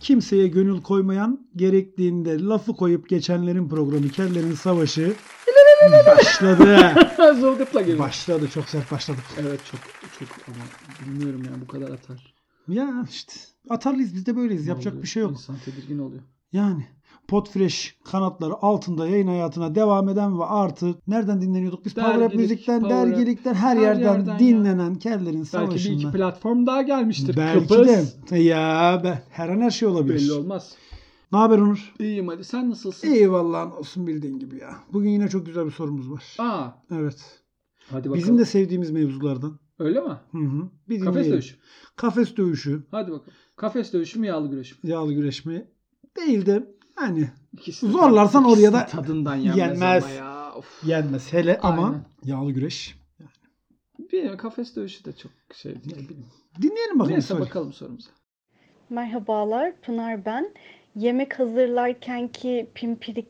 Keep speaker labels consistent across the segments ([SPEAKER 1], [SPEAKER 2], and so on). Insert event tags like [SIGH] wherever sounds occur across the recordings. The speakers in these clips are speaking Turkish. [SPEAKER 1] kimseye gönül koymayan, gerektiğinde lafı koyup geçenlerin programı, kellerin savaşı
[SPEAKER 2] [LAUGHS]
[SPEAKER 1] başladı.
[SPEAKER 2] Zılgıtla geliyor.
[SPEAKER 1] başladı, çok sert başladı.
[SPEAKER 2] Evet çok çok ama bilmiyorum ya bu kadar atar.
[SPEAKER 1] Ya işte atarlıyız biz de böyleyiz.
[SPEAKER 2] Ne
[SPEAKER 1] Yapacak
[SPEAKER 2] oluyor?
[SPEAKER 1] bir şey yok.
[SPEAKER 2] İnsan tedirgin oluyor.
[SPEAKER 1] Yani Podfresh kanatları altında yayın hayatına devam eden ve artık nereden dinleniyorduk? Biz Power Up
[SPEAKER 2] Dergilik,
[SPEAKER 1] Müzik'ten,
[SPEAKER 2] Power Up.
[SPEAKER 1] dergilikten, her,
[SPEAKER 2] Her
[SPEAKER 1] yerden,
[SPEAKER 2] yerden ya.
[SPEAKER 1] dinlenen kellerin
[SPEAKER 2] Belki bir iki
[SPEAKER 1] savaşından.
[SPEAKER 2] platform daha gelmiştir.
[SPEAKER 1] Belki
[SPEAKER 2] Kıbrıs.
[SPEAKER 1] de. E Ya be, her an her şey olabilir.
[SPEAKER 2] Belli olmaz.
[SPEAKER 1] Ne haber Onur?
[SPEAKER 2] İyiyim hadi sen nasılsın?
[SPEAKER 1] Eyvallah olsun bildiğin gibi ya. Bugün yine çok güzel bir sorumuz var.
[SPEAKER 2] Aa,
[SPEAKER 1] Evet.
[SPEAKER 2] hadi bakalım.
[SPEAKER 1] Bizim de sevdiğimiz mevzulardan.
[SPEAKER 2] Öyle mi?
[SPEAKER 1] Hı hı. Bir
[SPEAKER 2] Kafes
[SPEAKER 1] dinleyelim.
[SPEAKER 2] dövüşü.
[SPEAKER 1] Kafes dövüşü,
[SPEAKER 2] Hadi bakalım. Kafes dövüşü mü yağlı güreş mi?
[SPEAKER 1] yağlı güreşme değil de yani
[SPEAKER 2] İkisi de-
[SPEAKER 1] Zorlarsan
[SPEAKER 2] ikisi
[SPEAKER 1] oraya
[SPEAKER 2] de
[SPEAKER 1] da
[SPEAKER 2] tadından yenmez,
[SPEAKER 1] yenmez.
[SPEAKER 2] ama ya. Of.
[SPEAKER 1] yenmez hele ama
[SPEAKER 2] Aynen.
[SPEAKER 1] yağlı güreş.
[SPEAKER 2] Bilmiyorum kafes dövüşü de çok şey değil. bilmiyorum.
[SPEAKER 1] Dinleyelim bakalım.
[SPEAKER 2] Neyse
[SPEAKER 1] Söyle.
[SPEAKER 2] bakalım sorumuza.
[SPEAKER 3] Merhabalar, Pınar ben. Yemek hazırlarkenki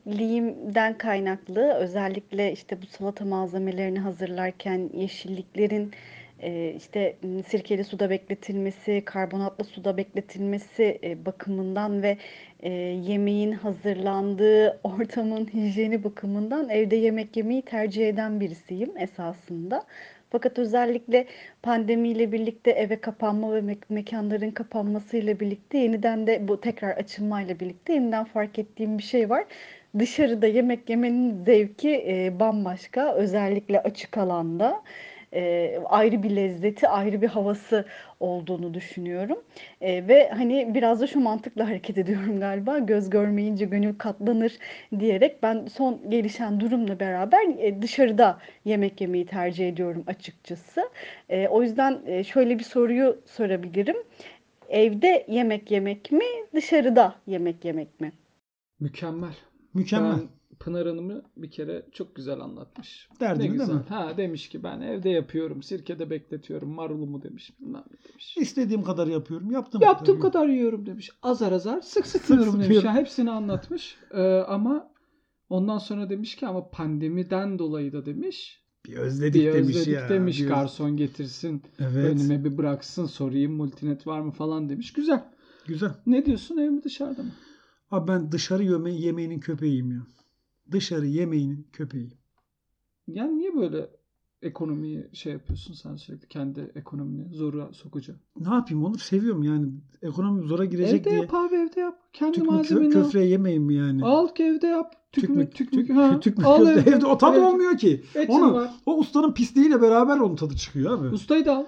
[SPEAKER 3] pimpirikliğimden kaynaklı, özellikle işte bu salata malzemelerini hazırlarken yeşilliklerin e, işte m, sirkeli suda bekletilmesi, karbonatlı suda bekletilmesi e, bakımından ve e, yemeğin hazırlandığı [LAUGHS] ortamın hijyeni bakımından evde yemek yemeyi tercih eden birisiyim esasında. Fakat özellikle pandemiyle birlikte eve kapanma ve me- mekanların kapanmasıyla birlikte yeniden de bu tekrar açılmayla birlikte yeniden fark ettiğim bir şey var. Dışarıda yemek yemenin zevki e, bambaşka. Özellikle açık alanda e, ayrı bir lezzeti, ayrı bir havası olduğunu düşünüyorum. E, ve hani biraz da şu mantıkla hareket ediyorum galiba. Göz görmeyince gönül katlanır diyerek ben son gelişen durumla beraber e, dışarıda yemek yemeyi tercih ediyorum açıkçası. E, o yüzden e, şöyle bir soruyu sorabilirim. Evde yemek yemek mi, dışarıda yemek yemek mi?
[SPEAKER 2] Mükemmel.
[SPEAKER 1] Mükemmel.
[SPEAKER 2] Ben Pınar Hanım'ı bir kere çok güzel anlatmış.
[SPEAKER 1] Derdini
[SPEAKER 2] ne
[SPEAKER 1] değil
[SPEAKER 2] güzel.
[SPEAKER 1] mi?
[SPEAKER 2] Ha demiş ki ben evde yapıyorum, sirkede bekletiyorum, marulumu demiş, bilmem ne demiş.
[SPEAKER 1] İstediğim kadar yapıyorum. Yaptım.
[SPEAKER 2] Yaptığım kadar yiyorum demiş. Azar azar sık sık
[SPEAKER 1] Sık
[SPEAKER 2] yiyorum
[SPEAKER 1] sık
[SPEAKER 2] demiş.
[SPEAKER 1] yiyorum.
[SPEAKER 2] Yani hepsini anlatmış. Ee, ama ondan sonra demiş ki ama pandemiden dolayı da demiş.
[SPEAKER 1] Bir özledik,
[SPEAKER 2] Bir
[SPEAKER 1] demiş
[SPEAKER 2] özledik
[SPEAKER 1] ya.
[SPEAKER 2] demiş
[SPEAKER 1] Bir öz-
[SPEAKER 2] garson getirsin.
[SPEAKER 1] Evet.
[SPEAKER 2] Önüme bir bıraksın sorayım multinet var mı falan demiş. Güzel.
[SPEAKER 1] Güzel.
[SPEAKER 2] Ne diyorsun ev mi dışarıda mı?
[SPEAKER 1] Abi ben dışarı yeme yemeğinin köpeğiyim ya. Dışarı yemeğinin köpeğiyim.
[SPEAKER 2] Yani niye böyle ekonomiyi şey yapıyorsun sen sürekli kendi ekonomini zora sokacaksın?
[SPEAKER 1] Ne yapayım onu seviyorum yani. Ekonomi zora girecek
[SPEAKER 2] Evde
[SPEAKER 1] diye.
[SPEAKER 2] yap abi evde yap. Kendi
[SPEAKER 1] Tükmü kö-
[SPEAKER 2] malzemeni al.
[SPEAKER 1] köfre yemeyeyim mi yani?
[SPEAKER 2] Al ki evde yap. Tükmü
[SPEAKER 1] Tükmük-
[SPEAKER 2] tükmük.
[SPEAKER 1] tük- [LAUGHS]
[SPEAKER 2] ha.
[SPEAKER 1] tükmük
[SPEAKER 2] Al
[SPEAKER 1] köfte. Evde o tadı
[SPEAKER 2] Evde.
[SPEAKER 1] olmuyor ki.
[SPEAKER 2] Etin
[SPEAKER 1] Onu- [LAUGHS]
[SPEAKER 2] var.
[SPEAKER 1] O ustanın pisliğiyle beraber onun tadı çıkıyor abi.
[SPEAKER 2] Ustayı da al.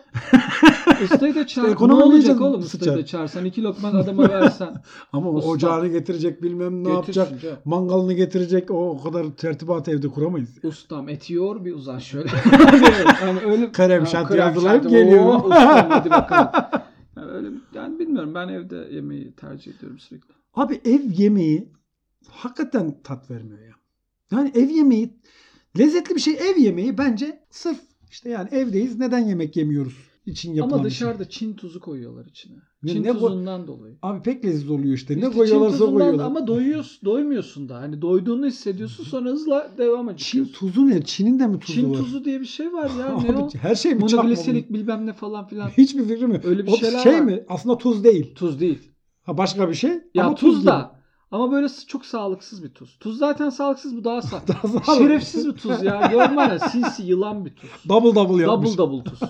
[SPEAKER 2] ustayı da çağır.
[SPEAKER 1] ekonomi
[SPEAKER 2] ne olacak
[SPEAKER 1] olmayacak
[SPEAKER 2] oğlum
[SPEAKER 1] mı
[SPEAKER 2] ustayı da
[SPEAKER 1] sıçar?
[SPEAKER 2] çağırsan? iki lokma adama versen.
[SPEAKER 1] Ama o
[SPEAKER 2] Usta.
[SPEAKER 1] ocağını getirecek bilmem [LAUGHS] ne
[SPEAKER 2] Götürsün
[SPEAKER 1] yapacak.
[SPEAKER 2] canım.
[SPEAKER 1] Mangalını getirecek. O, o kadar tertibatı evde kuramayız.
[SPEAKER 2] Ustam eti yoğur bir
[SPEAKER 1] [LAUGHS]
[SPEAKER 2] uzan şöyle. yani öyle
[SPEAKER 1] Krem
[SPEAKER 2] Ha,
[SPEAKER 1] şanti
[SPEAKER 2] krem
[SPEAKER 1] hazırlayıp
[SPEAKER 2] şanti. Oo,
[SPEAKER 1] geliyorum. [LAUGHS]
[SPEAKER 2] ustam hadi bakalım. Yani öyle yani bilmiyorum ben evde yemeği tercih ediyorum sürekli.
[SPEAKER 1] Abi ev yemeği hakikaten tat vermiyor ya. Yani ev yemeği lezzetli bir şey. Ev yemeği bence sırf işte yani evdeyiz neden yemek yemiyoruz için yapılan
[SPEAKER 2] Ama
[SPEAKER 1] bir şey.
[SPEAKER 2] dışarıda Çin tuzu koyuyorlar içine.
[SPEAKER 1] Ne-
[SPEAKER 2] Çin
[SPEAKER 1] ne bu-
[SPEAKER 2] tuzundan dolayı.
[SPEAKER 1] Abi pek lezzetli oluyor işte. Ne
[SPEAKER 2] İşte Çin
[SPEAKER 1] koyuyorlarsa
[SPEAKER 2] tuzundan
[SPEAKER 1] koyuyorlar.
[SPEAKER 2] Ama doyuyorsun, doymuyorsun da. Hani doyduğunu hissediyorsun sonra hızla devam
[SPEAKER 1] Çin
[SPEAKER 2] ediyorsun.
[SPEAKER 1] tuzu ne? Çin'in de mi tuzu
[SPEAKER 2] Çin
[SPEAKER 1] var?
[SPEAKER 2] tuzu diye bir şey var ya. ne o?
[SPEAKER 1] [LAUGHS] Abi her şey mi çakma
[SPEAKER 2] Monogliserik bilmem ne falan
[SPEAKER 1] bunun?
[SPEAKER 2] filan.
[SPEAKER 1] Hiçbir fikrim yok.
[SPEAKER 2] Öyle bir
[SPEAKER 1] O
[SPEAKER 2] şeyler
[SPEAKER 1] şey
[SPEAKER 2] var.
[SPEAKER 1] mi? Aslında tuz değil.
[SPEAKER 2] Tuz değil.
[SPEAKER 1] Ha başka bir şey.
[SPEAKER 2] Ya
[SPEAKER 1] ama
[SPEAKER 2] tuz,
[SPEAKER 1] değil. [LAUGHS]
[SPEAKER 2] da. Ama böyle s- çok sağlıksız bir tuz. Tuz zaten sağlıksız bu daha
[SPEAKER 1] [LAUGHS]
[SPEAKER 2] sağlıklı.
[SPEAKER 1] Daha sağlıklı.
[SPEAKER 2] Şerefsiz bir tuz ya. Görme ya sinsi yılan bir tuz.
[SPEAKER 1] Double double yapmış.
[SPEAKER 2] Double double tuz.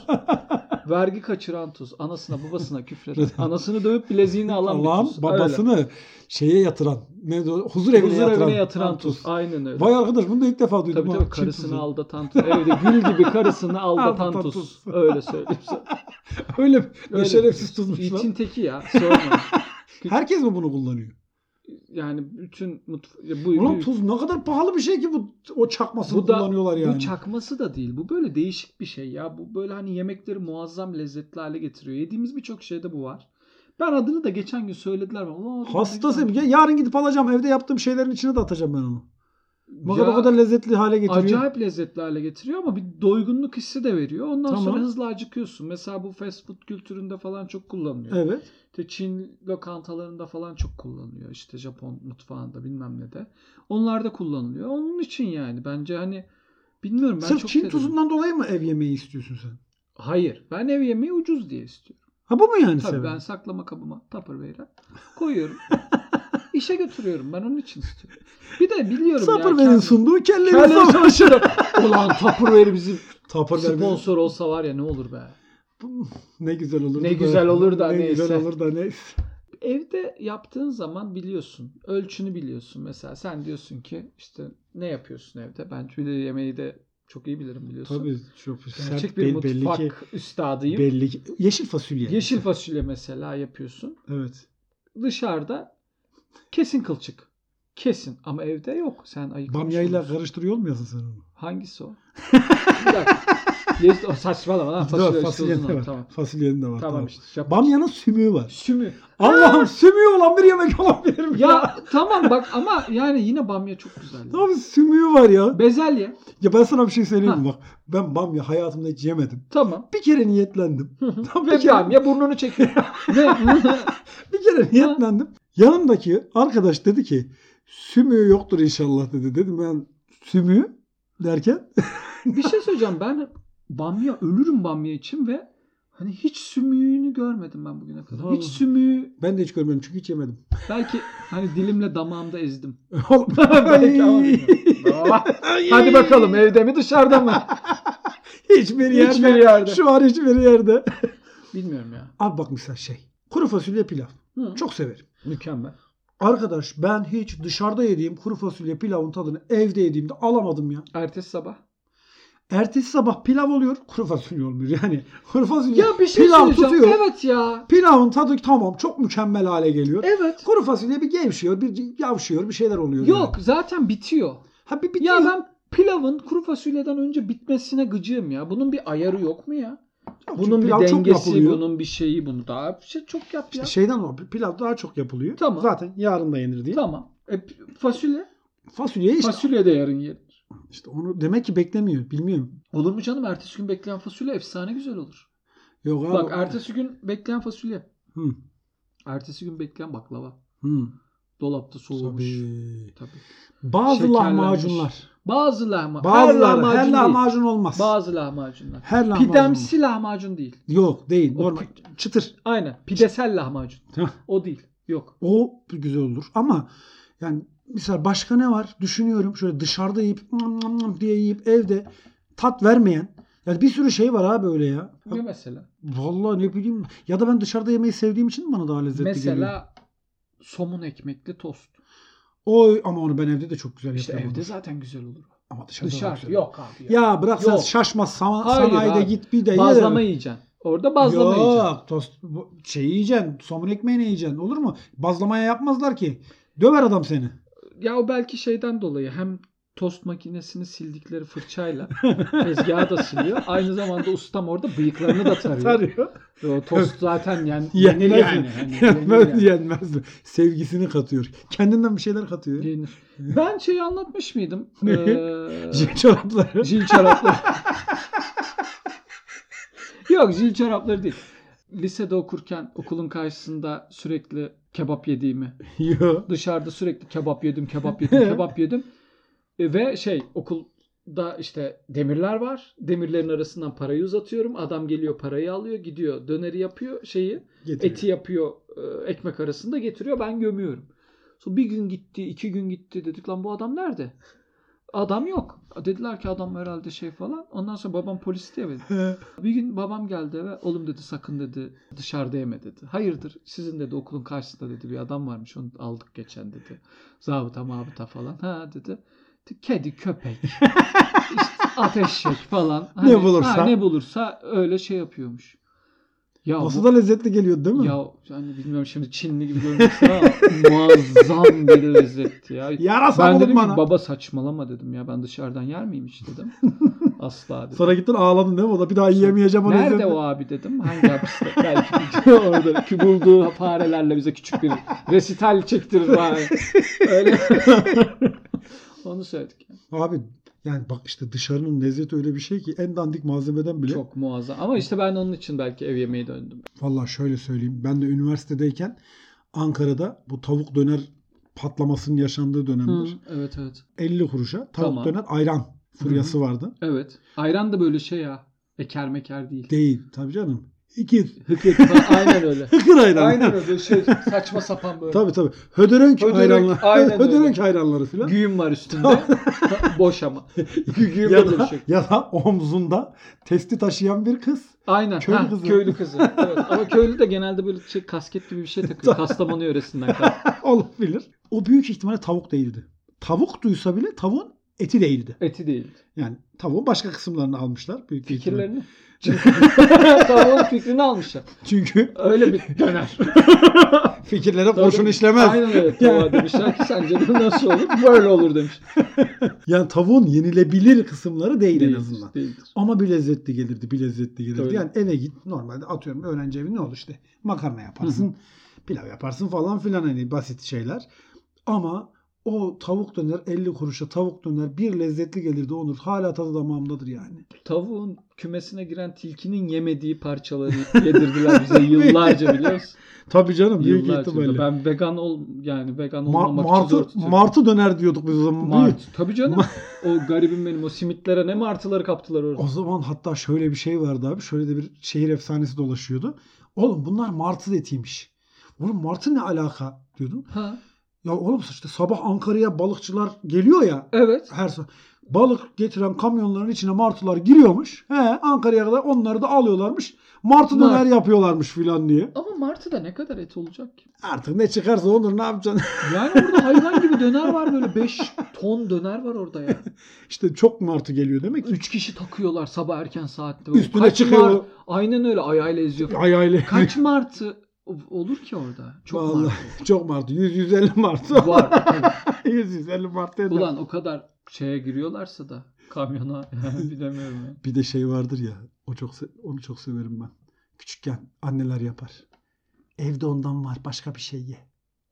[SPEAKER 2] Vergi kaçıran tuz. Anasına
[SPEAKER 1] [LAUGHS]
[SPEAKER 2] babasına küfreden. Anasını dövüp bileziğini alan bir tuz.
[SPEAKER 1] Allah'ın babasını şeye yatıran, ne, huzur evine
[SPEAKER 2] Huzur
[SPEAKER 1] yatıran,
[SPEAKER 2] evine yatıran tuz. Aynen öyle.
[SPEAKER 1] Vay arkadaş bunu da ilk defa duydum.
[SPEAKER 2] Tabii
[SPEAKER 1] ha.
[SPEAKER 2] tabii
[SPEAKER 1] Çin
[SPEAKER 2] karısını
[SPEAKER 1] tuzu.
[SPEAKER 2] aldatan tuz. Evde gül gibi karısını aldatan
[SPEAKER 1] [LAUGHS] Aldatan
[SPEAKER 2] tuz.
[SPEAKER 1] tuz.
[SPEAKER 2] Öyle söyleyeyim
[SPEAKER 1] [LAUGHS]
[SPEAKER 2] sana.
[SPEAKER 1] [LAUGHS] Öyle, mi? ne
[SPEAKER 2] Öyle.
[SPEAKER 1] şerefsiz tuzmuş lan.
[SPEAKER 2] İçin teki ya. Sorma.
[SPEAKER 1] Herkes mi bunu kullanıyor?
[SPEAKER 2] Yani bütün mutf- ya bu,
[SPEAKER 1] Ulan
[SPEAKER 2] bu-
[SPEAKER 1] tuz ne kadar pahalı bir şey ki bu o çakmasını
[SPEAKER 2] Bu da-
[SPEAKER 1] kullanıyorlar yani.
[SPEAKER 2] Bu çakması da değil. Bu böyle değişik bir şey ya. Bu böyle hani yemekleri muazzam lezzetli hale getiriyor. Yediğimiz birçok şeyde bu var. Ben adını da geçen gün söylediler. bana. Ulan adı
[SPEAKER 1] Hastasıyım.
[SPEAKER 2] ne
[SPEAKER 1] Ya
[SPEAKER 2] güzel.
[SPEAKER 1] yarın gidip alacağım. Evde yaptığım şeylerin içine de atacağım ben onu. Ne kadar,
[SPEAKER 2] Ya,
[SPEAKER 1] o kadar lezzetli hale getiriyor.
[SPEAKER 2] Acayip lezzetli hale getiriyor ama bir doygunluk hissi de veriyor. Ondan
[SPEAKER 1] Tamam.
[SPEAKER 2] sonra hızlı acıkıyorsun. Mesela bu fast food kültüründe falan çok kullanılıyor.
[SPEAKER 1] Evet.
[SPEAKER 2] İşte Çin lokantalarında falan çok kullanılıyor. İşte Japon mutfağında bilmem ne de. Onlarda kullanılıyor. Onun için yani bence hani bilmiyorum ben
[SPEAKER 1] Sırf
[SPEAKER 2] çok
[SPEAKER 1] Çin
[SPEAKER 2] denedim.
[SPEAKER 1] tuzundan dolayı mı ev yemeği istiyorsun sen?
[SPEAKER 2] Hayır. Ben ev yemeği ucuz diye istiyorum.
[SPEAKER 1] Ha bu mu yani
[SPEAKER 2] Tabii
[SPEAKER 1] sebebi?
[SPEAKER 2] ben saklama kabıma Tupperware'e koyuyorum. [LAUGHS] İşe götürüyorum. Ben onun için istiyorum. Bir de biliyorum ya.
[SPEAKER 1] Tupperware'in
[SPEAKER 2] kendim-
[SPEAKER 1] sunduğu kelleri
[SPEAKER 2] Kelleri
[SPEAKER 1] savaşı.
[SPEAKER 2] savaşırım. Ulan
[SPEAKER 1] [LAUGHS]
[SPEAKER 2] Tupperware bizim
[SPEAKER 1] Tupperware benim-
[SPEAKER 2] sponsor olsa var ya ne olur be.
[SPEAKER 1] Ne güzel olur
[SPEAKER 2] Ne güzel olur da
[SPEAKER 1] ne güzel
[SPEAKER 2] neyse.
[SPEAKER 1] olur da neyse.
[SPEAKER 2] Evde yaptığın zaman biliyorsun. Ölçünü biliyorsun. Mesela sen diyorsun ki işte ne yapıyorsun evde? Ben tüyleri yemeği de çok iyi bilirim biliyorsun.
[SPEAKER 1] Tabii çok sert
[SPEAKER 2] Gerçek bir
[SPEAKER 1] bir belli ki
[SPEAKER 2] mutfak üstadıyım.
[SPEAKER 1] belli ki yeşil fasulye.
[SPEAKER 2] Yeşil fasulye mesela yapıyorsun.
[SPEAKER 1] Evet.
[SPEAKER 2] Dışarıda kesin kılçık. Kesin ama evde yok. Sen ayık.
[SPEAKER 1] Bamyayla karıştırıyor olmuyorsun sen onu.
[SPEAKER 2] Hangisi o? bir dakika. Yes, o saçmalama lan fasulye.
[SPEAKER 1] Fasulye, fasulyenin
[SPEAKER 2] işte uzun
[SPEAKER 1] de
[SPEAKER 2] olur.
[SPEAKER 1] var.
[SPEAKER 2] Tamam.
[SPEAKER 1] Fasulyenin de var.
[SPEAKER 2] Tamam,
[SPEAKER 1] Tamam.
[SPEAKER 2] işte. Yap-
[SPEAKER 1] Bamyanın sümüğü var.
[SPEAKER 2] Sümü.
[SPEAKER 1] Allah'ım sümüğü olan bir yemek olabilir mi?
[SPEAKER 2] Ya tamam bak ama yani yine bamya çok güzel.
[SPEAKER 1] Abi sümüğü var ya.
[SPEAKER 2] Bezelye.
[SPEAKER 1] Ya ben sana bir şey söyleyeyim mi? bak. Ben bamya hayatımda hiç yemedim.
[SPEAKER 2] Tamam.
[SPEAKER 1] Bir kere niyetlendim. Tam bir
[SPEAKER 2] Ve
[SPEAKER 1] kere,
[SPEAKER 2] bamya burnunu çekiyor. [LAUGHS] ne?
[SPEAKER 1] bir kere niyetlendim. Yanımdaki arkadaş dedi ki sümüğü yoktur inşallah dedi. Dedim ben sümüğü derken [LAUGHS]
[SPEAKER 2] Bir şey söyleyeceğim ben bamya ölürüm bamya için ve hani hiç sümüğünü görmedim ben bugüne kadar.
[SPEAKER 1] Vallahi.
[SPEAKER 2] Hiç sümüğü
[SPEAKER 1] ben de hiç görmedim çünkü hiç yemedim. [LAUGHS]
[SPEAKER 2] belki hani dilimle damağımda ezdim. [LAUGHS]
[SPEAKER 1] Oğlum,
[SPEAKER 2] Belki ama [LAUGHS] bilmiyorum. Aa, Hadi bakalım evde mi dışarıda mı?
[SPEAKER 1] Hiçbir yerde.
[SPEAKER 2] Hiçbir yerde.
[SPEAKER 1] Şu an hiçbir yerde.
[SPEAKER 2] [LAUGHS] Bilmiyorum ya.
[SPEAKER 1] Abi bak mesela şey. Kuru fasulye pilav.
[SPEAKER 2] Hı.
[SPEAKER 1] Çok severim.
[SPEAKER 2] Mükemmel.
[SPEAKER 1] Arkadaş ben hiç dışarıda yediğim kuru fasulye pilavın tadını evde yediğimde alamadım ya.
[SPEAKER 2] Ertesi sabah.
[SPEAKER 1] Ertesi sabah pilav oluyor, kuru fasulye olmuyor. Yani kuru fasulye
[SPEAKER 2] Ya bir şey
[SPEAKER 1] pilav
[SPEAKER 2] söyleyeceğim.
[SPEAKER 1] tutuyor.
[SPEAKER 2] Evet ya.
[SPEAKER 1] Pilavın tadı tamam çok mükemmel hale geliyor.
[SPEAKER 2] Evet.
[SPEAKER 1] Kuru fasulye bir gevşiyor, bir yavşıyor, bir şeyler oluyor.
[SPEAKER 2] Yok
[SPEAKER 1] yani.
[SPEAKER 2] zaten bitiyor.
[SPEAKER 1] Ha bir
[SPEAKER 2] Ya
[SPEAKER 1] bitiyor.
[SPEAKER 2] ben pilavın kuru fasulyeden önce bitmesine gıcığım ya. Bunun bir ayarı yok mu ya?
[SPEAKER 1] Yok,
[SPEAKER 2] Bunun bir
[SPEAKER 1] pilav çok
[SPEAKER 2] dengesi,
[SPEAKER 1] yapılıyor.
[SPEAKER 2] bunun bir şeyi, bunu daha bir şey çok yap ya.
[SPEAKER 1] İşte şeyden o pilav daha çok yapılıyor.
[SPEAKER 2] Tamam.
[SPEAKER 1] Zaten yarın da yenir diye.
[SPEAKER 2] Tamam. E, p- fasulye?
[SPEAKER 1] Fasulyeyi işte,
[SPEAKER 2] Fasulye de yarın yenir.
[SPEAKER 1] işte onu demek ki beklemiyor. Bilmiyorum.
[SPEAKER 2] Olur mu canım? Ertesi gün bekleyen fasulye efsane güzel olur.
[SPEAKER 1] Yok abi.
[SPEAKER 2] Bak ertesi
[SPEAKER 1] [LAUGHS]
[SPEAKER 2] gün bekleyen fasulye.
[SPEAKER 1] Hı,
[SPEAKER 2] Ertesi gün bekleyen baklava.
[SPEAKER 1] hı.
[SPEAKER 2] Dolapta soğumuş. Tabii.
[SPEAKER 1] Tabii. Bazı
[SPEAKER 2] Şekerlenmiş.
[SPEAKER 1] lahmacunlar.
[SPEAKER 2] Bazı lahma. her
[SPEAKER 1] Bazıları
[SPEAKER 2] lahmacun,
[SPEAKER 1] her
[SPEAKER 2] değil.
[SPEAKER 1] lahmacun olmaz.
[SPEAKER 2] Bazı lahmacunlar.
[SPEAKER 1] her lahmacun. olmaz.
[SPEAKER 2] Pidemsi lahmacun değil.
[SPEAKER 1] Yok değil.
[SPEAKER 2] O
[SPEAKER 1] Normal. Çıtır.
[SPEAKER 2] Aynen. Pidesel lahmacun.
[SPEAKER 1] Hah.
[SPEAKER 2] O değil. Yok.
[SPEAKER 1] O güzel olur. Ama yani mesela başka ne var? Düşünüyorum şöyle dışarıda yiyip "Nam nam nam" diye yiyip evde tat vermeyen. Yani bir sürü şey var abi öyle ya.
[SPEAKER 2] Ne mesela?
[SPEAKER 1] Vallahi ne bileyim. Ya da ben dışarıda yemeyi sevdiğim için mi bana daha lezzetli geliyor.
[SPEAKER 2] mesela somun ekmekli tost.
[SPEAKER 1] Oy ama onu ben evde de çok güzel
[SPEAKER 2] İşte
[SPEAKER 1] yapıyorum.
[SPEAKER 2] evde zaten güzel olur.
[SPEAKER 1] ama dışarıda, daha
[SPEAKER 2] Dışarı
[SPEAKER 1] güzel.
[SPEAKER 2] yok abi. Ya.
[SPEAKER 1] Ya bırak sen
[SPEAKER 2] Yok.
[SPEAKER 1] şaşma sana,
[SPEAKER 2] Hayır
[SPEAKER 1] sanayide
[SPEAKER 2] abi.
[SPEAKER 1] git bir de ye.
[SPEAKER 2] bazlama yiyeceksin. Orada bazlama yiyeceksin.
[SPEAKER 1] Yok tost bu- şey yiyeceksin. Somun ekmeğini yiyeceksin. Olur mu? Bazlamaya yapmazlar ki. Döver adam seni.
[SPEAKER 2] Ya o belki şeyden dolayı hem tost makinesini
[SPEAKER 1] [LAUGHS]
[SPEAKER 2] sildikleri fırçayla tezgahı da siliyor. Aynı zamanda ustam orada bıyıklarını da [LAUGHS] tarıyor. Ve o tost zaten yani yenir
[SPEAKER 1] Yenmez
[SPEAKER 2] yani.
[SPEAKER 1] mi? [LAUGHS]
[SPEAKER 2] Hani
[SPEAKER 1] Yenmez,
[SPEAKER 2] yenir yani.
[SPEAKER 1] yenmez mi? Sevgisini katıyor. Kendinden bir şeyler katıyor. [LAUGHS]
[SPEAKER 2] Yenir. Ben şeyi anlatmış mıydım?
[SPEAKER 1] Ne? [LAUGHS]
[SPEAKER 2] Ee,
[SPEAKER 1] Çorapları.
[SPEAKER 2] Jil çorapları. [LAUGHS] Yok jil çorapları değil. Lisede okurken okulun karşısında sürekli kebap yediğimi,
[SPEAKER 1] [LAUGHS] Yok.
[SPEAKER 2] dışarıda sürekli kebap yedim, kebap yedim, kebap yedim. E, Ve şey okulda işte demirler var. Demirlerin arasından parayı uzatıyorum. Adam geliyor parayı alıyor, gidiyor döneri yapıyor şeyi.
[SPEAKER 1] Getiriyor.
[SPEAKER 2] Eti yapıyor e, ekmek arasında getiriyor ben gömüyorum. Sonra bir gün gitti iki gün gitti dedik lan bu adam nerede? Adam yok. Dediler ki adam herhalde şey falan. Ondan sonra babam polis diye
[SPEAKER 1] He.
[SPEAKER 2] Bir gün babam geldi eve oğlum dedi sakın dedi dışarıda yeme dedi. Hayırdır sizin dedi okulun karşısında dedi bir adam varmış onu aldık geçen dedi. Zabıta mabıta falan. Ha dedi.
[SPEAKER 1] [LAUGHS]
[SPEAKER 2] Kedi köpek. işte ateşek falan. Hani,
[SPEAKER 1] Ne bulursa.
[SPEAKER 2] ha, ne bulursa öyle şey yapıyormuş. Ya bu-
[SPEAKER 1] Nasıl da lezzetli geliyor değil mi?
[SPEAKER 2] ya yani bilmiyorum şimdi Çinli gibi görünüyorsun ama [LAUGHS] muazzam bir lezzet ya.
[SPEAKER 1] Yarasa
[SPEAKER 2] ben
[SPEAKER 1] buldum
[SPEAKER 2] dedim ki
[SPEAKER 1] bana.
[SPEAKER 2] baba saçmalama dedim ya ben dışarıdan yer miyim hiç
[SPEAKER 1] [LAUGHS]
[SPEAKER 2] dedim. Asla dedim.
[SPEAKER 1] Sonra gittin ağladın değil mi? O da bir daha yiyemeyeceğim o
[SPEAKER 2] Nerede
[SPEAKER 1] lezzeti.
[SPEAKER 2] o abi dedim. Hangi hapiste? [LAUGHS] Belki oradaki bulduğu farelerle bize küçük bir resital çektirir bari.
[SPEAKER 1] [LAUGHS]
[SPEAKER 2] Öyle. Onu söyledik. yani.
[SPEAKER 1] Abi yani bak işte dışarının lezzeti öyle bir şey ki en dandik malzemeden bile.
[SPEAKER 2] Çok muazzam. Ama işte ben onun için belki ev yemeği döndüm.
[SPEAKER 1] Vallahi şöyle söyleyeyim. Ben de üniversitedeyken Ankara'da bu tavuk döner patlamasının yaşandığı dönemdir.
[SPEAKER 2] Evet evet.
[SPEAKER 1] 50 kuruşa tavuk
[SPEAKER 2] Tamam.
[SPEAKER 1] döner ayran furyası vardı.
[SPEAKER 2] Evet. Ayran da böyle şey ya. Eker meker değil.
[SPEAKER 1] Değil tabii canım.
[SPEAKER 2] [LAUGHS]
[SPEAKER 1] İkiz.
[SPEAKER 2] Hıkır falan, aynen öyle.
[SPEAKER 1] Hıkır ayranı.
[SPEAKER 2] aynen öyle şey saçma sapan böyle.
[SPEAKER 1] Tabii tabii. Hödörönk,
[SPEAKER 2] Hödörönk,
[SPEAKER 1] hayranlar.
[SPEAKER 2] aynen
[SPEAKER 1] Hödörönk hayranları filan.
[SPEAKER 2] Güğüm var üstünde.
[SPEAKER 1] [LAUGHS]
[SPEAKER 2] Boş ama. Gü- Güğüm
[SPEAKER 1] Ya
[SPEAKER 2] de
[SPEAKER 1] da,
[SPEAKER 2] boş.
[SPEAKER 1] ya da omzunda testi taşıyan bir
[SPEAKER 2] [LAUGHS]
[SPEAKER 1] kız.
[SPEAKER 2] Aynen.
[SPEAKER 1] Köylü
[SPEAKER 2] ha,
[SPEAKER 1] kızı.
[SPEAKER 2] Köylü kızı.
[SPEAKER 1] [LAUGHS]
[SPEAKER 2] Evet. Ama köylü de genelde böyle şey, kasket gibi bir şey takıyor. Kastamonu yöresinden.
[SPEAKER 1] [LAUGHS]
[SPEAKER 2] kas-
[SPEAKER 1] Olabilir. O büyük ihtimalle tavuk değildi. Tavuk duysa bile tavuğun eti değildi.
[SPEAKER 2] Eti değil.
[SPEAKER 1] Yani tavuğun başka kısımlarını almışlar. Büyük ihtimalle.
[SPEAKER 2] Fikirlerini. [LAUGHS] Tavuğun fikrini almışlar.
[SPEAKER 1] Çünkü [LAUGHS]
[SPEAKER 2] Öyle bir döner.
[SPEAKER 1] fikirlere boşun işlemez.
[SPEAKER 2] Aynen öyle. Tavuğa demişler ki sence de nasıl olur? Böyle olur demiş.
[SPEAKER 1] Yani tavuğun yenilebilir kısımları değil, [LAUGHS] en azından.
[SPEAKER 2] Değildir.
[SPEAKER 1] Ama bir lezzetli gelirdi, bir lezzetli gelirdi.
[SPEAKER 2] Tabii.
[SPEAKER 1] Yani eve git normalde atıyorum öğrenci evi ne olur işte makarna yaparsın, pilav yaparsın falan filan hani basit şeyler. Ama o tavuk döner 50 kuruşa tavuk döner bir lezzetli gelirdi Onur. Hala tadı damağımdadır yani.
[SPEAKER 2] Tavuğun kümesine giren tilkinin yemediği parçaları
[SPEAKER 1] [LAUGHS]
[SPEAKER 2] yedirdiler bize yıllarca biliyor musun?
[SPEAKER 1] Tabii canım büyük
[SPEAKER 2] Yıllarca.
[SPEAKER 1] ihtimalle.
[SPEAKER 2] Ben vegan ol yani vegan
[SPEAKER 1] Ma-
[SPEAKER 2] olmamak için zor
[SPEAKER 1] martı,
[SPEAKER 2] tutuyorum.
[SPEAKER 1] martı döner diyorduk biz o zaman. Büyük-
[SPEAKER 2] Mart. Tabii canım. o garibim benim o simitlere ne martıları kaptılar orada.
[SPEAKER 1] O zaman hatta şöyle bir şey vardı abi. Şöyle de bir şehir efsanesi dolaşıyordu. Oğlum bunlar martı etiymiş. Oğlum martı ne alaka diyordum.
[SPEAKER 2] Ha,
[SPEAKER 1] Ya oğlum işte sabah Ankara'ya balıkçılar geliyor ya
[SPEAKER 2] evet.
[SPEAKER 1] her sabah. Balık getiren kamyonların içine martılar giriyormuş. He, Ankara'ya kadar onları da alıyorlarmış. Martı
[SPEAKER 2] Mart.
[SPEAKER 1] döner yapıyorlarmış filan diye.
[SPEAKER 2] Ama martıda ne kadar et olacak ki?
[SPEAKER 1] Artık ne çıkarsa olur ne yapacaksın? [LAUGHS]
[SPEAKER 2] Yani orada hayvan gibi döner var böyle 5 ton döner var orada ya.
[SPEAKER 1] işte çok martı geliyor demek ki.
[SPEAKER 2] 3 kişi takıyorlar sabah erken saatte.
[SPEAKER 1] Üstüne çıkıyor.
[SPEAKER 2] mart- Aynen öyle ayağıyla eziyor.
[SPEAKER 1] Ay aile.
[SPEAKER 2] Kaç martı o- olur ki orada? Çok
[SPEAKER 1] Vallahi.
[SPEAKER 2] martı.
[SPEAKER 1] [LAUGHS] Çok martı. 100-150 martı. [LAUGHS]
[SPEAKER 2] Var. tabii.
[SPEAKER 1] 100-150 martı. eder.
[SPEAKER 2] Ulan o kadar şeye giriyorlarsa da kamyona [LAUGHS] yani bilemiyorum ya.
[SPEAKER 1] Bir de şey vardır ya. O çok se- onu çok severim ben. Küçükken anneler yapar. Evde ondan var başka bir şey ye.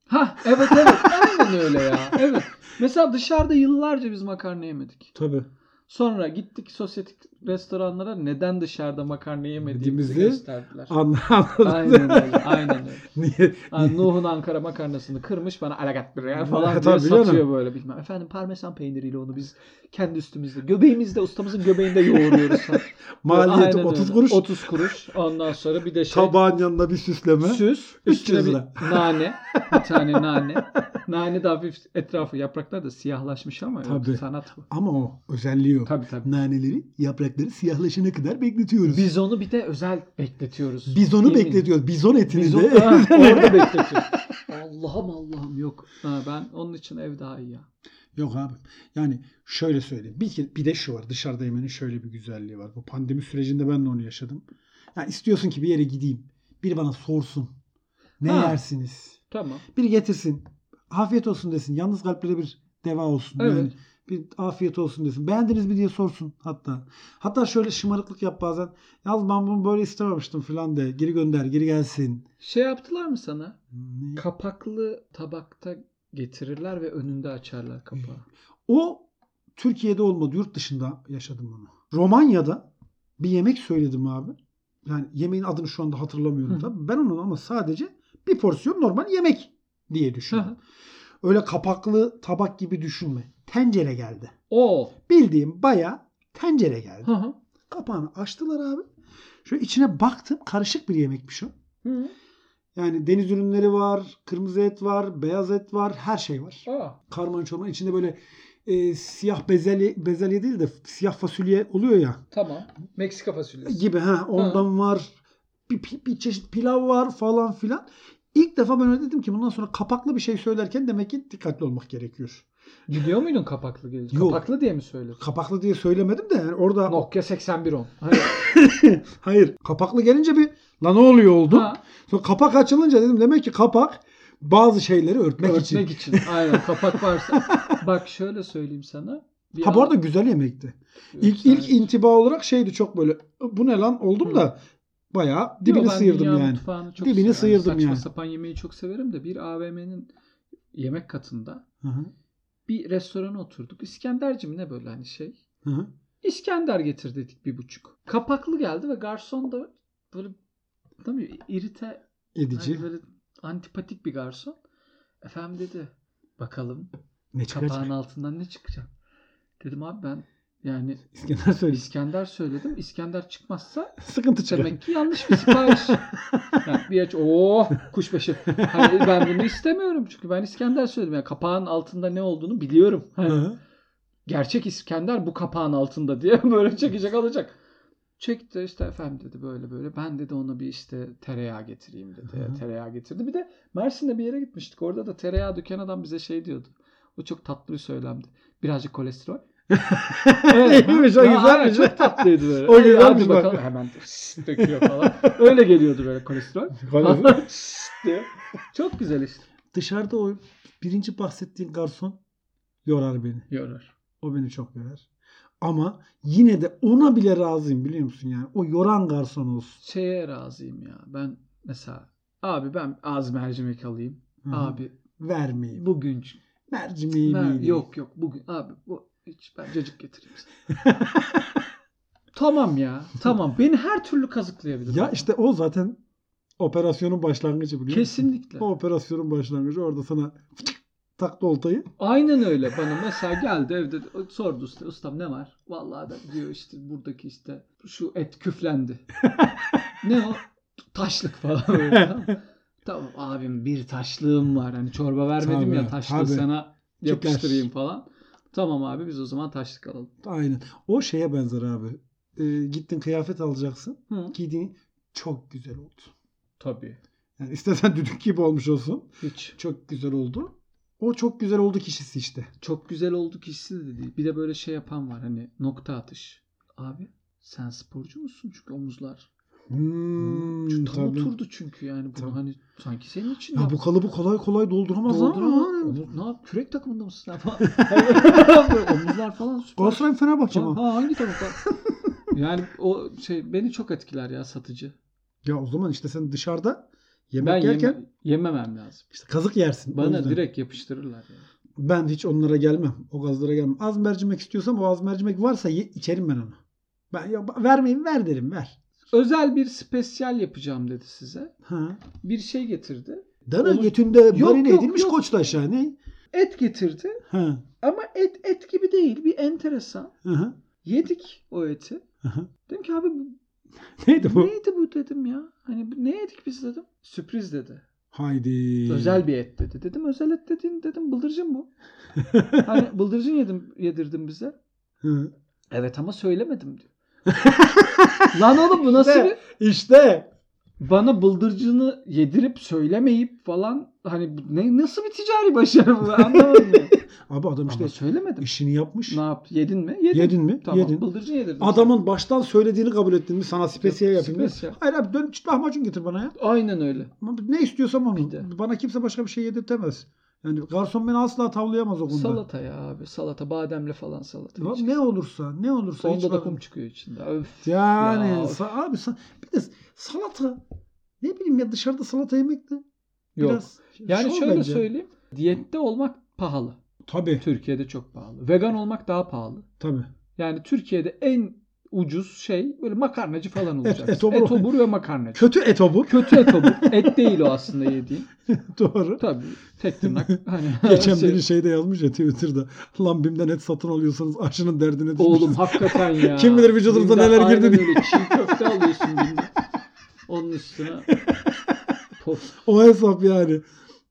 [SPEAKER 2] Ha evet evet aynen öyle ya. Evet. Mesela dışarıda yıllarca biz makarna yemedik.
[SPEAKER 1] Tabii.
[SPEAKER 2] Sonra gittik sosyetik restoranlara neden dışarıda makarna yemediğimizi
[SPEAKER 1] Yediğimizi-
[SPEAKER 2] gösterdiler.
[SPEAKER 1] [LAUGHS] Anladım.
[SPEAKER 2] Aynen öyle. Aynen öyle.
[SPEAKER 1] Niye?
[SPEAKER 2] Ha, Nuh'un Ankara makarnasını kırmış bana alagat bre falan
[SPEAKER 1] Ha,
[SPEAKER 2] diye
[SPEAKER 1] tabii
[SPEAKER 2] satıyor
[SPEAKER 1] canım.
[SPEAKER 2] böyle bilmem. Efendim parmesan peyniriyle onu biz kendi üstümüzde göbeğimizde ustamızın göbeğinde yoğuruyoruz. falan.
[SPEAKER 1] [LAUGHS] Maliyeti
[SPEAKER 2] Aynen
[SPEAKER 1] 30
[SPEAKER 2] öyle.
[SPEAKER 1] kuruş.
[SPEAKER 2] 30 kuruş. Ondan sonra bir de şey
[SPEAKER 1] Tabağın yanına bir süsleme.
[SPEAKER 2] süs.
[SPEAKER 1] 300
[SPEAKER 2] Üstüne
[SPEAKER 1] lira.
[SPEAKER 2] bir [LAUGHS] nane. Bir tane nane. Nane de hafif etrafı yapraklar da siyahlaşmış ama yok,
[SPEAKER 1] Tabii.
[SPEAKER 2] sanat bu.
[SPEAKER 1] Ama o özelliği yok.
[SPEAKER 2] Tabii tabii.
[SPEAKER 1] Naneleri yaprakları siyahlaşana kadar bekletiyoruz. Biz,
[SPEAKER 2] Biz onu bir de özel bekletiyoruz.
[SPEAKER 1] Bizonu
[SPEAKER 2] Yemin-
[SPEAKER 1] bekletiyoruz. Bizon etini
[SPEAKER 2] Biz onu
[SPEAKER 1] de. [LAUGHS]
[SPEAKER 2] Ha, orada bekletiyoruz. Allah'ım Allah'ım yok. Ha, ben onun için ev daha iyi ya.
[SPEAKER 1] Yok abi. Yani şöyle söyleyeyim. Bir, ke- bir de şu var. Dışarıda yemenin şöyle bir güzelliği var. Bu pandemi sürecinde ben de onu yaşadım. Yani istiyorsun ki bir yere gideyim. Biri bana sorsun. Ne
[SPEAKER 2] Ha.
[SPEAKER 1] yersiniz?
[SPEAKER 2] Tamam.
[SPEAKER 1] Biri getirsin. Afiyet olsun desin. Yalnız kalplere bir deva olsun.
[SPEAKER 2] Evet.
[SPEAKER 1] Yani bir afiyet olsun desin. Beğendiniz mi diye sorsun hatta. Hatta şöyle şımarıklık yap bazen. Yalnız ben bunu böyle istememiştim falan de. Geri gönder, geri gelsin.
[SPEAKER 2] Şey yaptılar mı sana?
[SPEAKER 1] Ne?
[SPEAKER 2] Kapaklı tabakta getirirler ve önünde açarlar kapağı.
[SPEAKER 1] O Türkiye'de olmadı. Yurt dışında yaşadım bunu. Romanya'da bir yemek söyledim abi. Yani yemeğin adını şu anda hatırlamıyorum
[SPEAKER 2] Hı.
[SPEAKER 1] tabii. Ben onu ama sadece bir porsiyon normal yemek diye düşündüm.
[SPEAKER 2] Hı.
[SPEAKER 1] Öyle kapaklı tabak gibi düşünme. Tencere geldi.
[SPEAKER 2] O.
[SPEAKER 1] Bildiğim baya tencere geldi.
[SPEAKER 2] Hı hı.
[SPEAKER 1] Kapağını açtılar abi. Şöyle içine baktım. Karışık bir yemekmiş o.
[SPEAKER 2] Hı.
[SPEAKER 1] Yani deniz ürünleri var, kırmızı et var, beyaz et var, her şey var.
[SPEAKER 2] Aa.
[SPEAKER 1] Karman çorman içinde böyle e, siyah bezelye, bezelye değil de siyah fasulye oluyor ya
[SPEAKER 2] Tamam. Meksika fasulyesi.
[SPEAKER 1] gibi ha ondan var. Bir, pi- bir çeşit pilav var falan filan. İlk defa ben öyle dedim ki bundan sonra kapaklı bir şey söylerken demek ki dikkatli olmak gerekiyor.
[SPEAKER 2] Biliyor muydun kapaklı gelince?
[SPEAKER 1] Yok.
[SPEAKER 2] Kapaklı diye mi söyledin?
[SPEAKER 1] Kapaklı diye söylemedim de yani orada
[SPEAKER 2] Nokia 8110.
[SPEAKER 1] [LAUGHS] hayır kapaklı gelince bir la ne oluyor oldu.
[SPEAKER 2] Ha,
[SPEAKER 1] Sonra kapak açılınca dedim demek ki kapak bazı şeyleri örtmek, için.
[SPEAKER 2] örtmek için. Aynen kapak varsa. Bak şöyle söyleyeyim sana. Bir
[SPEAKER 1] Ha bu
[SPEAKER 2] an-
[SPEAKER 1] arada güzel yemekti.
[SPEAKER 2] Yok,
[SPEAKER 1] İlk
[SPEAKER 2] sen-
[SPEAKER 1] ilk intiba olarak şeydi çok böyle bu ne lan oldum da bayağı dibini
[SPEAKER 2] Yok, ben
[SPEAKER 1] sıyırdım
[SPEAKER 2] dünya
[SPEAKER 1] yani.
[SPEAKER 2] mutfağını çok
[SPEAKER 1] Dibini
[SPEAKER 2] severim.
[SPEAKER 1] sıyırdım yani.
[SPEAKER 2] Saçma sapan yemeği çok severim de bir AVM'nin yemek katında
[SPEAKER 1] Hı hı,
[SPEAKER 2] bir restorana oturduk. İskenderci mi ne böyle hani şey.
[SPEAKER 1] hı hı.
[SPEAKER 2] İskender getir dedik bir buçuk. Kapaklı geldi ve garson da böyle değil mi, irite
[SPEAKER 1] Edici.
[SPEAKER 2] hani böyle antipatik bir garson. Efendim dedi bakalım
[SPEAKER 1] ne çıkacak?
[SPEAKER 2] kapağın altından ne çıkacak? Dedim abi ben Yani
[SPEAKER 1] İskender söyledi.
[SPEAKER 2] İskender söyledim. İskender çıkmazsa
[SPEAKER 1] Sıkıntı çıkıyor.
[SPEAKER 2] demek ki [LAUGHS] yanlış bir sipariş. yani bir aç ooo kuşbaşı. Hayır ben bunu istemiyorum çünkü ben İskender söyledim. Yani kapağın altında ne olduğunu biliyorum. Hani
[SPEAKER 1] Hı.
[SPEAKER 2] gerçek İskender bu kapağın altında diye [LAUGHS] böyle çekecek alacak. Çekti işte efendim dedi böyle böyle. Ben dedi ona bir işte tereyağı getireyim dedi.
[SPEAKER 1] Hı hı.
[SPEAKER 2] Tereyağı getirdi. Bir de Mersin'de bir yere gitmiştik. Orada da tereyağı döken adam bize şey diyordu. O çok tatlı bir söylemdi.
[SPEAKER 1] [LAUGHS]
[SPEAKER 2] Birazcık kolesterol.
[SPEAKER 1] İyiymiş, o
[SPEAKER 2] Ya,
[SPEAKER 1] güzelmiş.
[SPEAKER 2] aynen, Çok tatlıydı
[SPEAKER 1] [LAUGHS]
[SPEAKER 2] böyle.
[SPEAKER 1] O
[SPEAKER 2] Hadi
[SPEAKER 1] güzelmiş
[SPEAKER 2] hadi
[SPEAKER 1] bak.
[SPEAKER 2] bakalım. Hemen [LAUGHS] döküyor falan. Öyle geliyordu böyle kolesterol.
[SPEAKER 1] [LAUGHS]
[SPEAKER 2] [LAUGHS] diye. Çok güzel işte.
[SPEAKER 1] Dışarıda o birinci bahsettiğin garson yorar beni.
[SPEAKER 2] Yorar.
[SPEAKER 1] O beni çok yorar. Ama yine de ona bile razıyım biliyor musun yani. O yoran garson olsun.
[SPEAKER 2] Şeye razıyım ya. Ben mesela abi ben az mercimek alayım.
[SPEAKER 1] Hı.
[SPEAKER 2] Abi
[SPEAKER 1] Vermeyeyim.
[SPEAKER 2] bugün
[SPEAKER 1] Mercimeği
[SPEAKER 2] Ver-
[SPEAKER 1] miydi?
[SPEAKER 2] yok yok bugün abi bu hiç ben cacık getireyim sana. [LAUGHS] tamam ya. Tamam. Beni her türlü kazıklayabilir.
[SPEAKER 1] Ya işte o zaten operasyonun başlangıcı biliyor musun?
[SPEAKER 2] Kesinlikle.
[SPEAKER 1] O operasyonun başlangıcı orada sana fıtık taktı oltayı.
[SPEAKER 2] Aynen öyle. Bana mesela geldi evde de- sordu usta, ustam ne var? Vallahi da diyor işte buradaki işte şu
[SPEAKER 1] [LAUGHS]
[SPEAKER 2] et küflendi. ne o? Taşlık falan böyle. Tamam. Tamam abim bir taşlığım var. Hani çorba vermedim
[SPEAKER 1] Tabii,
[SPEAKER 2] ya taşlığı
[SPEAKER 1] tabii.
[SPEAKER 2] sana yapıştırayım
[SPEAKER 1] Çıkar.
[SPEAKER 2] falan. Tamam abi biz o zaman taşlık alalım.
[SPEAKER 1] Aynen. O şeye benzer abi. Ee, gittin kıyafet alacaksın.
[SPEAKER 2] Hı.
[SPEAKER 1] Giydiğin çok güzel oldu.
[SPEAKER 2] Tabii.
[SPEAKER 1] Yani istesen [LAUGHS] düdük gibi olmuş olsun.
[SPEAKER 2] Hiç.
[SPEAKER 1] Çok güzel oldu. O çok güzel oldu kişisi işte.
[SPEAKER 2] çok güzel oldu kişisi de değil. Bir de böyle şey yapan var hani nokta atış. Abi sen sporcu musun? Çünkü omuzlar.
[SPEAKER 1] Hmm,
[SPEAKER 2] Çünkü tam
[SPEAKER 1] tabii.
[SPEAKER 2] oturdu çünkü yani bunu
[SPEAKER 1] Tabii.
[SPEAKER 2] hani sanki senin için
[SPEAKER 1] Ya
[SPEAKER 2] yap-
[SPEAKER 1] bu kalıbı kolay kolay dolduramaz ama.
[SPEAKER 2] Dolduramaz. Omuz- Ne yap? Kürek takımında mısın?
[SPEAKER 1] [LAUGHS]
[SPEAKER 2] sen falan? Böyle Omuzlar falan süper.
[SPEAKER 1] Galatasaray Fenerbahçe
[SPEAKER 2] Ha,
[SPEAKER 1] mi?
[SPEAKER 2] ha, hangi
[SPEAKER 1] [LAUGHS]
[SPEAKER 2] takım falan? Yani o şey beni çok etkiler ya satıcı.
[SPEAKER 1] Ya o zaman işte sen dışarıda yemek
[SPEAKER 2] ben
[SPEAKER 1] yerken
[SPEAKER 2] yeme- yememem lazım.
[SPEAKER 1] işte kazık yersin. O
[SPEAKER 2] Bana
[SPEAKER 1] yüzden.
[SPEAKER 2] direkt yapıştırırlar. Yani.
[SPEAKER 1] Ben hiç onlara gelmem. O gazlara gelmem. Az mercimek istiyorsam o az mercimek varsa ye- içerim ben onu. Ben ya ba- vermeyin ver derim ver.
[SPEAKER 2] Özel bir spesyal yapacağım dedi size.
[SPEAKER 1] Ha.
[SPEAKER 2] Bir şey getirdi.
[SPEAKER 1] Dana
[SPEAKER 2] Olur.
[SPEAKER 1] götünde marine
[SPEAKER 2] yok,
[SPEAKER 1] edilmiş
[SPEAKER 2] yok.
[SPEAKER 1] koçtaş yani.
[SPEAKER 2] Et getirdi.
[SPEAKER 1] Ha.
[SPEAKER 2] Ama et et gibi değil. Bir enteresan.
[SPEAKER 1] Hı hı.
[SPEAKER 2] Yedik o eti.
[SPEAKER 1] Hı hı.
[SPEAKER 2] Dedim ki abi bu,
[SPEAKER 1] Neydi bu?
[SPEAKER 2] neydi bu dedim ya. Hani bu- ne yedik biz dedim. Sürpriz dedi.
[SPEAKER 1] Haydi.
[SPEAKER 2] Özel bir et dedi. Dedim özel et dediğin dedim
[SPEAKER 1] [LAUGHS]
[SPEAKER 2] bıldırcın bu. hani bıldırcın yedim yedirdin bize.
[SPEAKER 1] Hı.
[SPEAKER 2] Evet ama
[SPEAKER 1] [LAUGHS]
[SPEAKER 2] söylemedim diyor. Lan oğlum bu nasıl
[SPEAKER 1] Ne?
[SPEAKER 2] bir...
[SPEAKER 1] İşte.
[SPEAKER 2] Bana bıldırcını yedirip söylemeyip falan hani bu ne nasıl bir ticari başarı bu ben anlamadım.
[SPEAKER 1] [LAUGHS]
[SPEAKER 2] ya.
[SPEAKER 1] Abi adam işte
[SPEAKER 2] Ama söylemedim.
[SPEAKER 1] işini yapmış.
[SPEAKER 2] Ne yap? Yedin mi? Yedim.
[SPEAKER 1] Yedin mi?
[SPEAKER 2] Tamam.
[SPEAKER 1] Yedin.
[SPEAKER 2] Bıldırcın yedirdim.
[SPEAKER 1] Adamın baştan söylediğini kabul ettin mi? Sana spesiyel yapayım. mı?
[SPEAKER 2] Spesiyel.
[SPEAKER 1] Hayır abi dön çıt lahmacun getir bana ya.
[SPEAKER 2] Aynen öyle.
[SPEAKER 1] Ama Ne istiyorsam onu.
[SPEAKER 2] Bir de.
[SPEAKER 1] Bana kimse başka bir şey yedirtemez. Yani garson beni asla tavlayamaz o konuda.
[SPEAKER 2] Salata ya abi. Salata. Bademle falan salata.
[SPEAKER 1] Ya
[SPEAKER 2] Hiç-
[SPEAKER 1] ne olursa, ne olursa. hiç
[SPEAKER 2] Onda da
[SPEAKER 1] bak-
[SPEAKER 2] kum çıkıyor içinde. Öf.
[SPEAKER 1] Yani
[SPEAKER 2] Ya.
[SPEAKER 1] sa- abi sa- bir de salata. Ne bileyim ya dışarıda salata yemek de
[SPEAKER 2] Yok.
[SPEAKER 1] biraz.
[SPEAKER 2] yani
[SPEAKER 1] şov
[SPEAKER 2] şöyle
[SPEAKER 1] bence.
[SPEAKER 2] söyleyeyim. Diyette olmak pahalı.
[SPEAKER 1] Tabii
[SPEAKER 2] Türkiye'de çok pahalı. Vegan olmak daha pahalı.
[SPEAKER 1] tabii.
[SPEAKER 2] Yani Türkiye'de en ucuz şey böyle makarnacı falan olacak.
[SPEAKER 1] etobur.
[SPEAKER 2] etobur ve makarnacı.
[SPEAKER 1] Kötü etobur.
[SPEAKER 2] Kötü etobur. Et değil o aslında yediğin.
[SPEAKER 1] [LAUGHS] Doğru.
[SPEAKER 2] Tabii. Tek tırnak. Hani
[SPEAKER 1] [LAUGHS] Geçen
[SPEAKER 2] [LAUGHS] şey-
[SPEAKER 1] biri şeyde yazmış ya Twitter'da. Lan BİM'den et satın alıyorsanız aşının derdine düşmüşsünüz.
[SPEAKER 2] Oğlum hakikaten ya.
[SPEAKER 1] Kim bilir vücudumuza
[SPEAKER 2] Bim'den
[SPEAKER 1] neler girdi
[SPEAKER 2] aynen
[SPEAKER 1] diye.
[SPEAKER 2] öyle. Çiğ köfte alıyorsun bimden.
[SPEAKER 1] [LAUGHS]
[SPEAKER 2] Onun üstüne. Pof.
[SPEAKER 1] O hesap yani.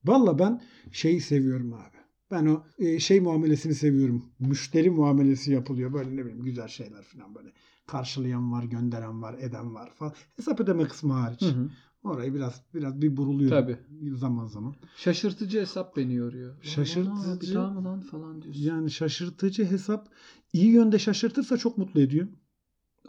[SPEAKER 1] Valla ben şeyi seviyorum abi. Ben o e, şey muamelesini seviyorum. Müşteri muamelesi yapılıyor. Böyle ne bileyim güzel şeyler falan böyle. Karşılayan var, gönderen var, eden var falan. Hesap ödeme kısmı hariç.
[SPEAKER 2] Hı hı.
[SPEAKER 1] Orayı biraz biraz bir buruluyor.
[SPEAKER 2] Tabii.
[SPEAKER 1] Zaman zaman.
[SPEAKER 2] Şaşırtıcı hesap beni yoruyor. Lan
[SPEAKER 1] Şaşırtıcı-
[SPEAKER 2] ana, Bir daha mı lan falan diyorsun.
[SPEAKER 1] Yani şaşırtıcı hesap iyi yönde şaşırtırsa çok mutlu ediyor.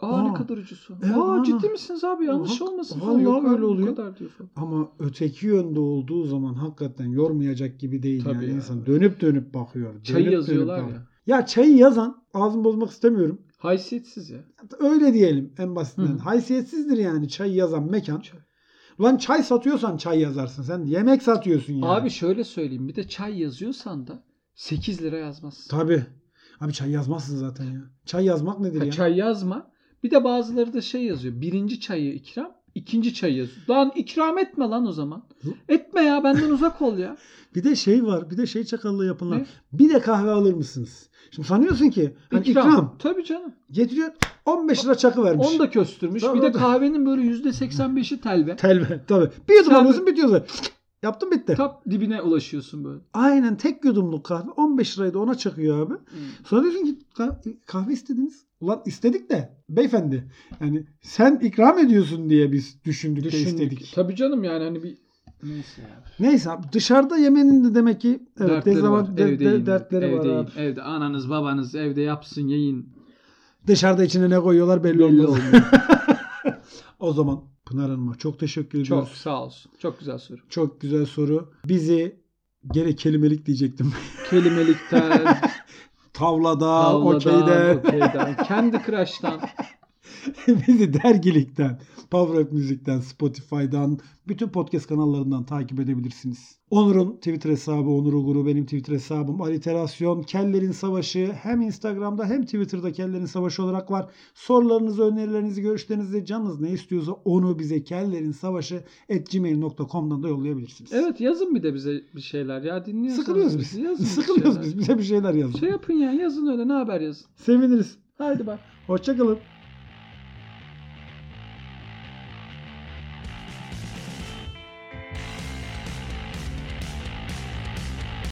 [SPEAKER 2] Aa,
[SPEAKER 1] Aa.
[SPEAKER 2] ne kadar ucuzu.
[SPEAKER 1] Evet,
[SPEAKER 2] Aa,
[SPEAKER 1] ana.
[SPEAKER 2] ciddi misiniz abi yanlış
[SPEAKER 1] Hak-
[SPEAKER 2] olmasın.
[SPEAKER 1] vallahi
[SPEAKER 2] Yok abi,
[SPEAKER 1] öyle
[SPEAKER 2] bu
[SPEAKER 1] oluyor.
[SPEAKER 2] Kadar diyor falan.
[SPEAKER 1] Ama öteki yönde olduğu zaman hakikaten yormayacak gibi değil
[SPEAKER 2] Tabii
[SPEAKER 1] yani
[SPEAKER 2] ya.
[SPEAKER 1] insan. Dönüp dönüp bakıyor. Dönüp
[SPEAKER 2] Çayı
[SPEAKER 1] dönüp
[SPEAKER 2] yazıyorlar
[SPEAKER 1] bakıyor.
[SPEAKER 2] ya.
[SPEAKER 1] Ya çayı yazan ağzımı bozmak istemiyorum.
[SPEAKER 2] Haysiyetsiz ya.
[SPEAKER 1] Öyle diyelim en basitinden.
[SPEAKER 2] Hı.
[SPEAKER 1] Haysiyetsizdir yani çay yazan mekan.
[SPEAKER 2] Çay.
[SPEAKER 1] Lan çay satıyorsan çay yazarsın. Sen yemek satıyorsun yani.
[SPEAKER 2] Abi şöyle söyleyeyim bir de çay yazıyorsan da 8 lira yazmazsın.
[SPEAKER 1] Tabii. Abi çay yazmazsın zaten ya. Çay yazmak nedir
[SPEAKER 2] Ha,
[SPEAKER 1] ya?
[SPEAKER 2] çay yazma. Bir de bazıları da şey yazıyor. Birinci çayı ikram, İkinci çayı yazıyor. Lan ikram etme lan o zaman.
[SPEAKER 1] Hı?
[SPEAKER 2] Etme ya benden uzak
[SPEAKER 1] [LAUGHS]
[SPEAKER 2] ol ya.
[SPEAKER 1] Bir de şey var. Bir de şey çakallığı yapılan.
[SPEAKER 2] Ne?
[SPEAKER 1] Bir de kahve alır mısınız? Şimdi sanıyorsun ki hani ikram.
[SPEAKER 2] Tabii canım.
[SPEAKER 1] getiriyor 15 lira çakı vermiş.
[SPEAKER 2] Onu da köstürmüş.
[SPEAKER 1] Tabii,
[SPEAKER 2] bir de
[SPEAKER 1] o da-
[SPEAKER 2] kahvenin böyle %85'i telve.
[SPEAKER 1] Telve tabii. Bir yudum
[SPEAKER 2] Sen-
[SPEAKER 1] alıyorsun bitiyor zaten. Yaptın bitti.
[SPEAKER 2] Tap dibine ulaşıyorsun böyle.
[SPEAKER 1] Aynen tek yudumluk kahve 15 lirayı da ona çakıyor abi.
[SPEAKER 2] Hmm.
[SPEAKER 1] Sonra diyorsun ki "Ka- kahve istediniz. Ulan istedik de beyefendi yani sen ikram ediyorsun diye biz düşündük, de istedik.
[SPEAKER 2] Tabii canım yani hani bir neyse ya.
[SPEAKER 1] Neyse abi, dışarıda yemenin de demek ki evet,
[SPEAKER 2] dertleri
[SPEAKER 1] dezavant-
[SPEAKER 2] var.
[SPEAKER 1] de-
[SPEAKER 2] evde
[SPEAKER 1] de-
[SPEAKER 2] yiyin.
[SPEAKER 1] dertleri
[SPEAKER 2] evde
[SPEAKER 1] var
[SPEAKER 2] yiyin.
[SPEAKER 1] abi.
[SPEAKER 2] Evde ananız babanız evde yapsın yiyin.
[SPEAKER 1] Dışarıda içine ne koyuyorlar belli,
[SPEAKER 2] Belli
[SPEAKER 1] olmaz.
[SPEAKER 2] olmuyor.
[SPEAKER 1] o zaman Pınar Hanım'a çok teşekkür
[SPEAKER 2] Çok
[SPEAKER 1] ediyoruz.
[SPEAKER 2] sağ olsun. Çok güzel soru.
[SPEAKER 1] Çok güzel soru. Bizi gene kelimelik diyecektim. [LAUGHS]
[SPEAKER 2] [LAUGHS] Kelimelikten,
[SPEAKER 1] Tavlada,
[SPEAKER 2] tavladan,
[SPEAKER 1] okeyden,
[SPEAKER 2] okeyden, kendi crush'tan.
[SPEAKER 1] bizi dergilikten, Power Up Müzik'ten, Spotify'dan, bütün podcast kanallarından takip edebilirsiniz. Onur'un Twitter hesabı, Onur Uğur'u benim Twitter hesabım, Aliterasyon, Kellerin Savaşı hem Instagram'da hem Twitter'da Kellerin Savaşı olarak var. Sorularınızı, önerilerinizi, görüşlerinizi, canınız ne istiyorsa onu bize kellerin savaşı gmail.com'dan da yollayabilirsiniz.
[SPEAKER 2] Evet yazın bir de bize bir şeyler ya dinliyorsanız.
[SPEAKER 1] Sıkılıyoruz
[SPEAKER 2] bizi,
[SPEAKER 1] biz.
[SPEAKER 2] Yazın bir
[SPEAKER 1] Sıkılıyoruz
[SPEAKER 2] şeyler.
[SPEAKER 1] biz. Bize bir şeyler yazın.
[SPEAKER 2] Şey yapın ya yazın öyle ne haber yazın.
[SPEAKER 1] Seviniriz.
[SPEAKER 2] Haydi bak.
[SPEAKER 1] Hoşçakalın.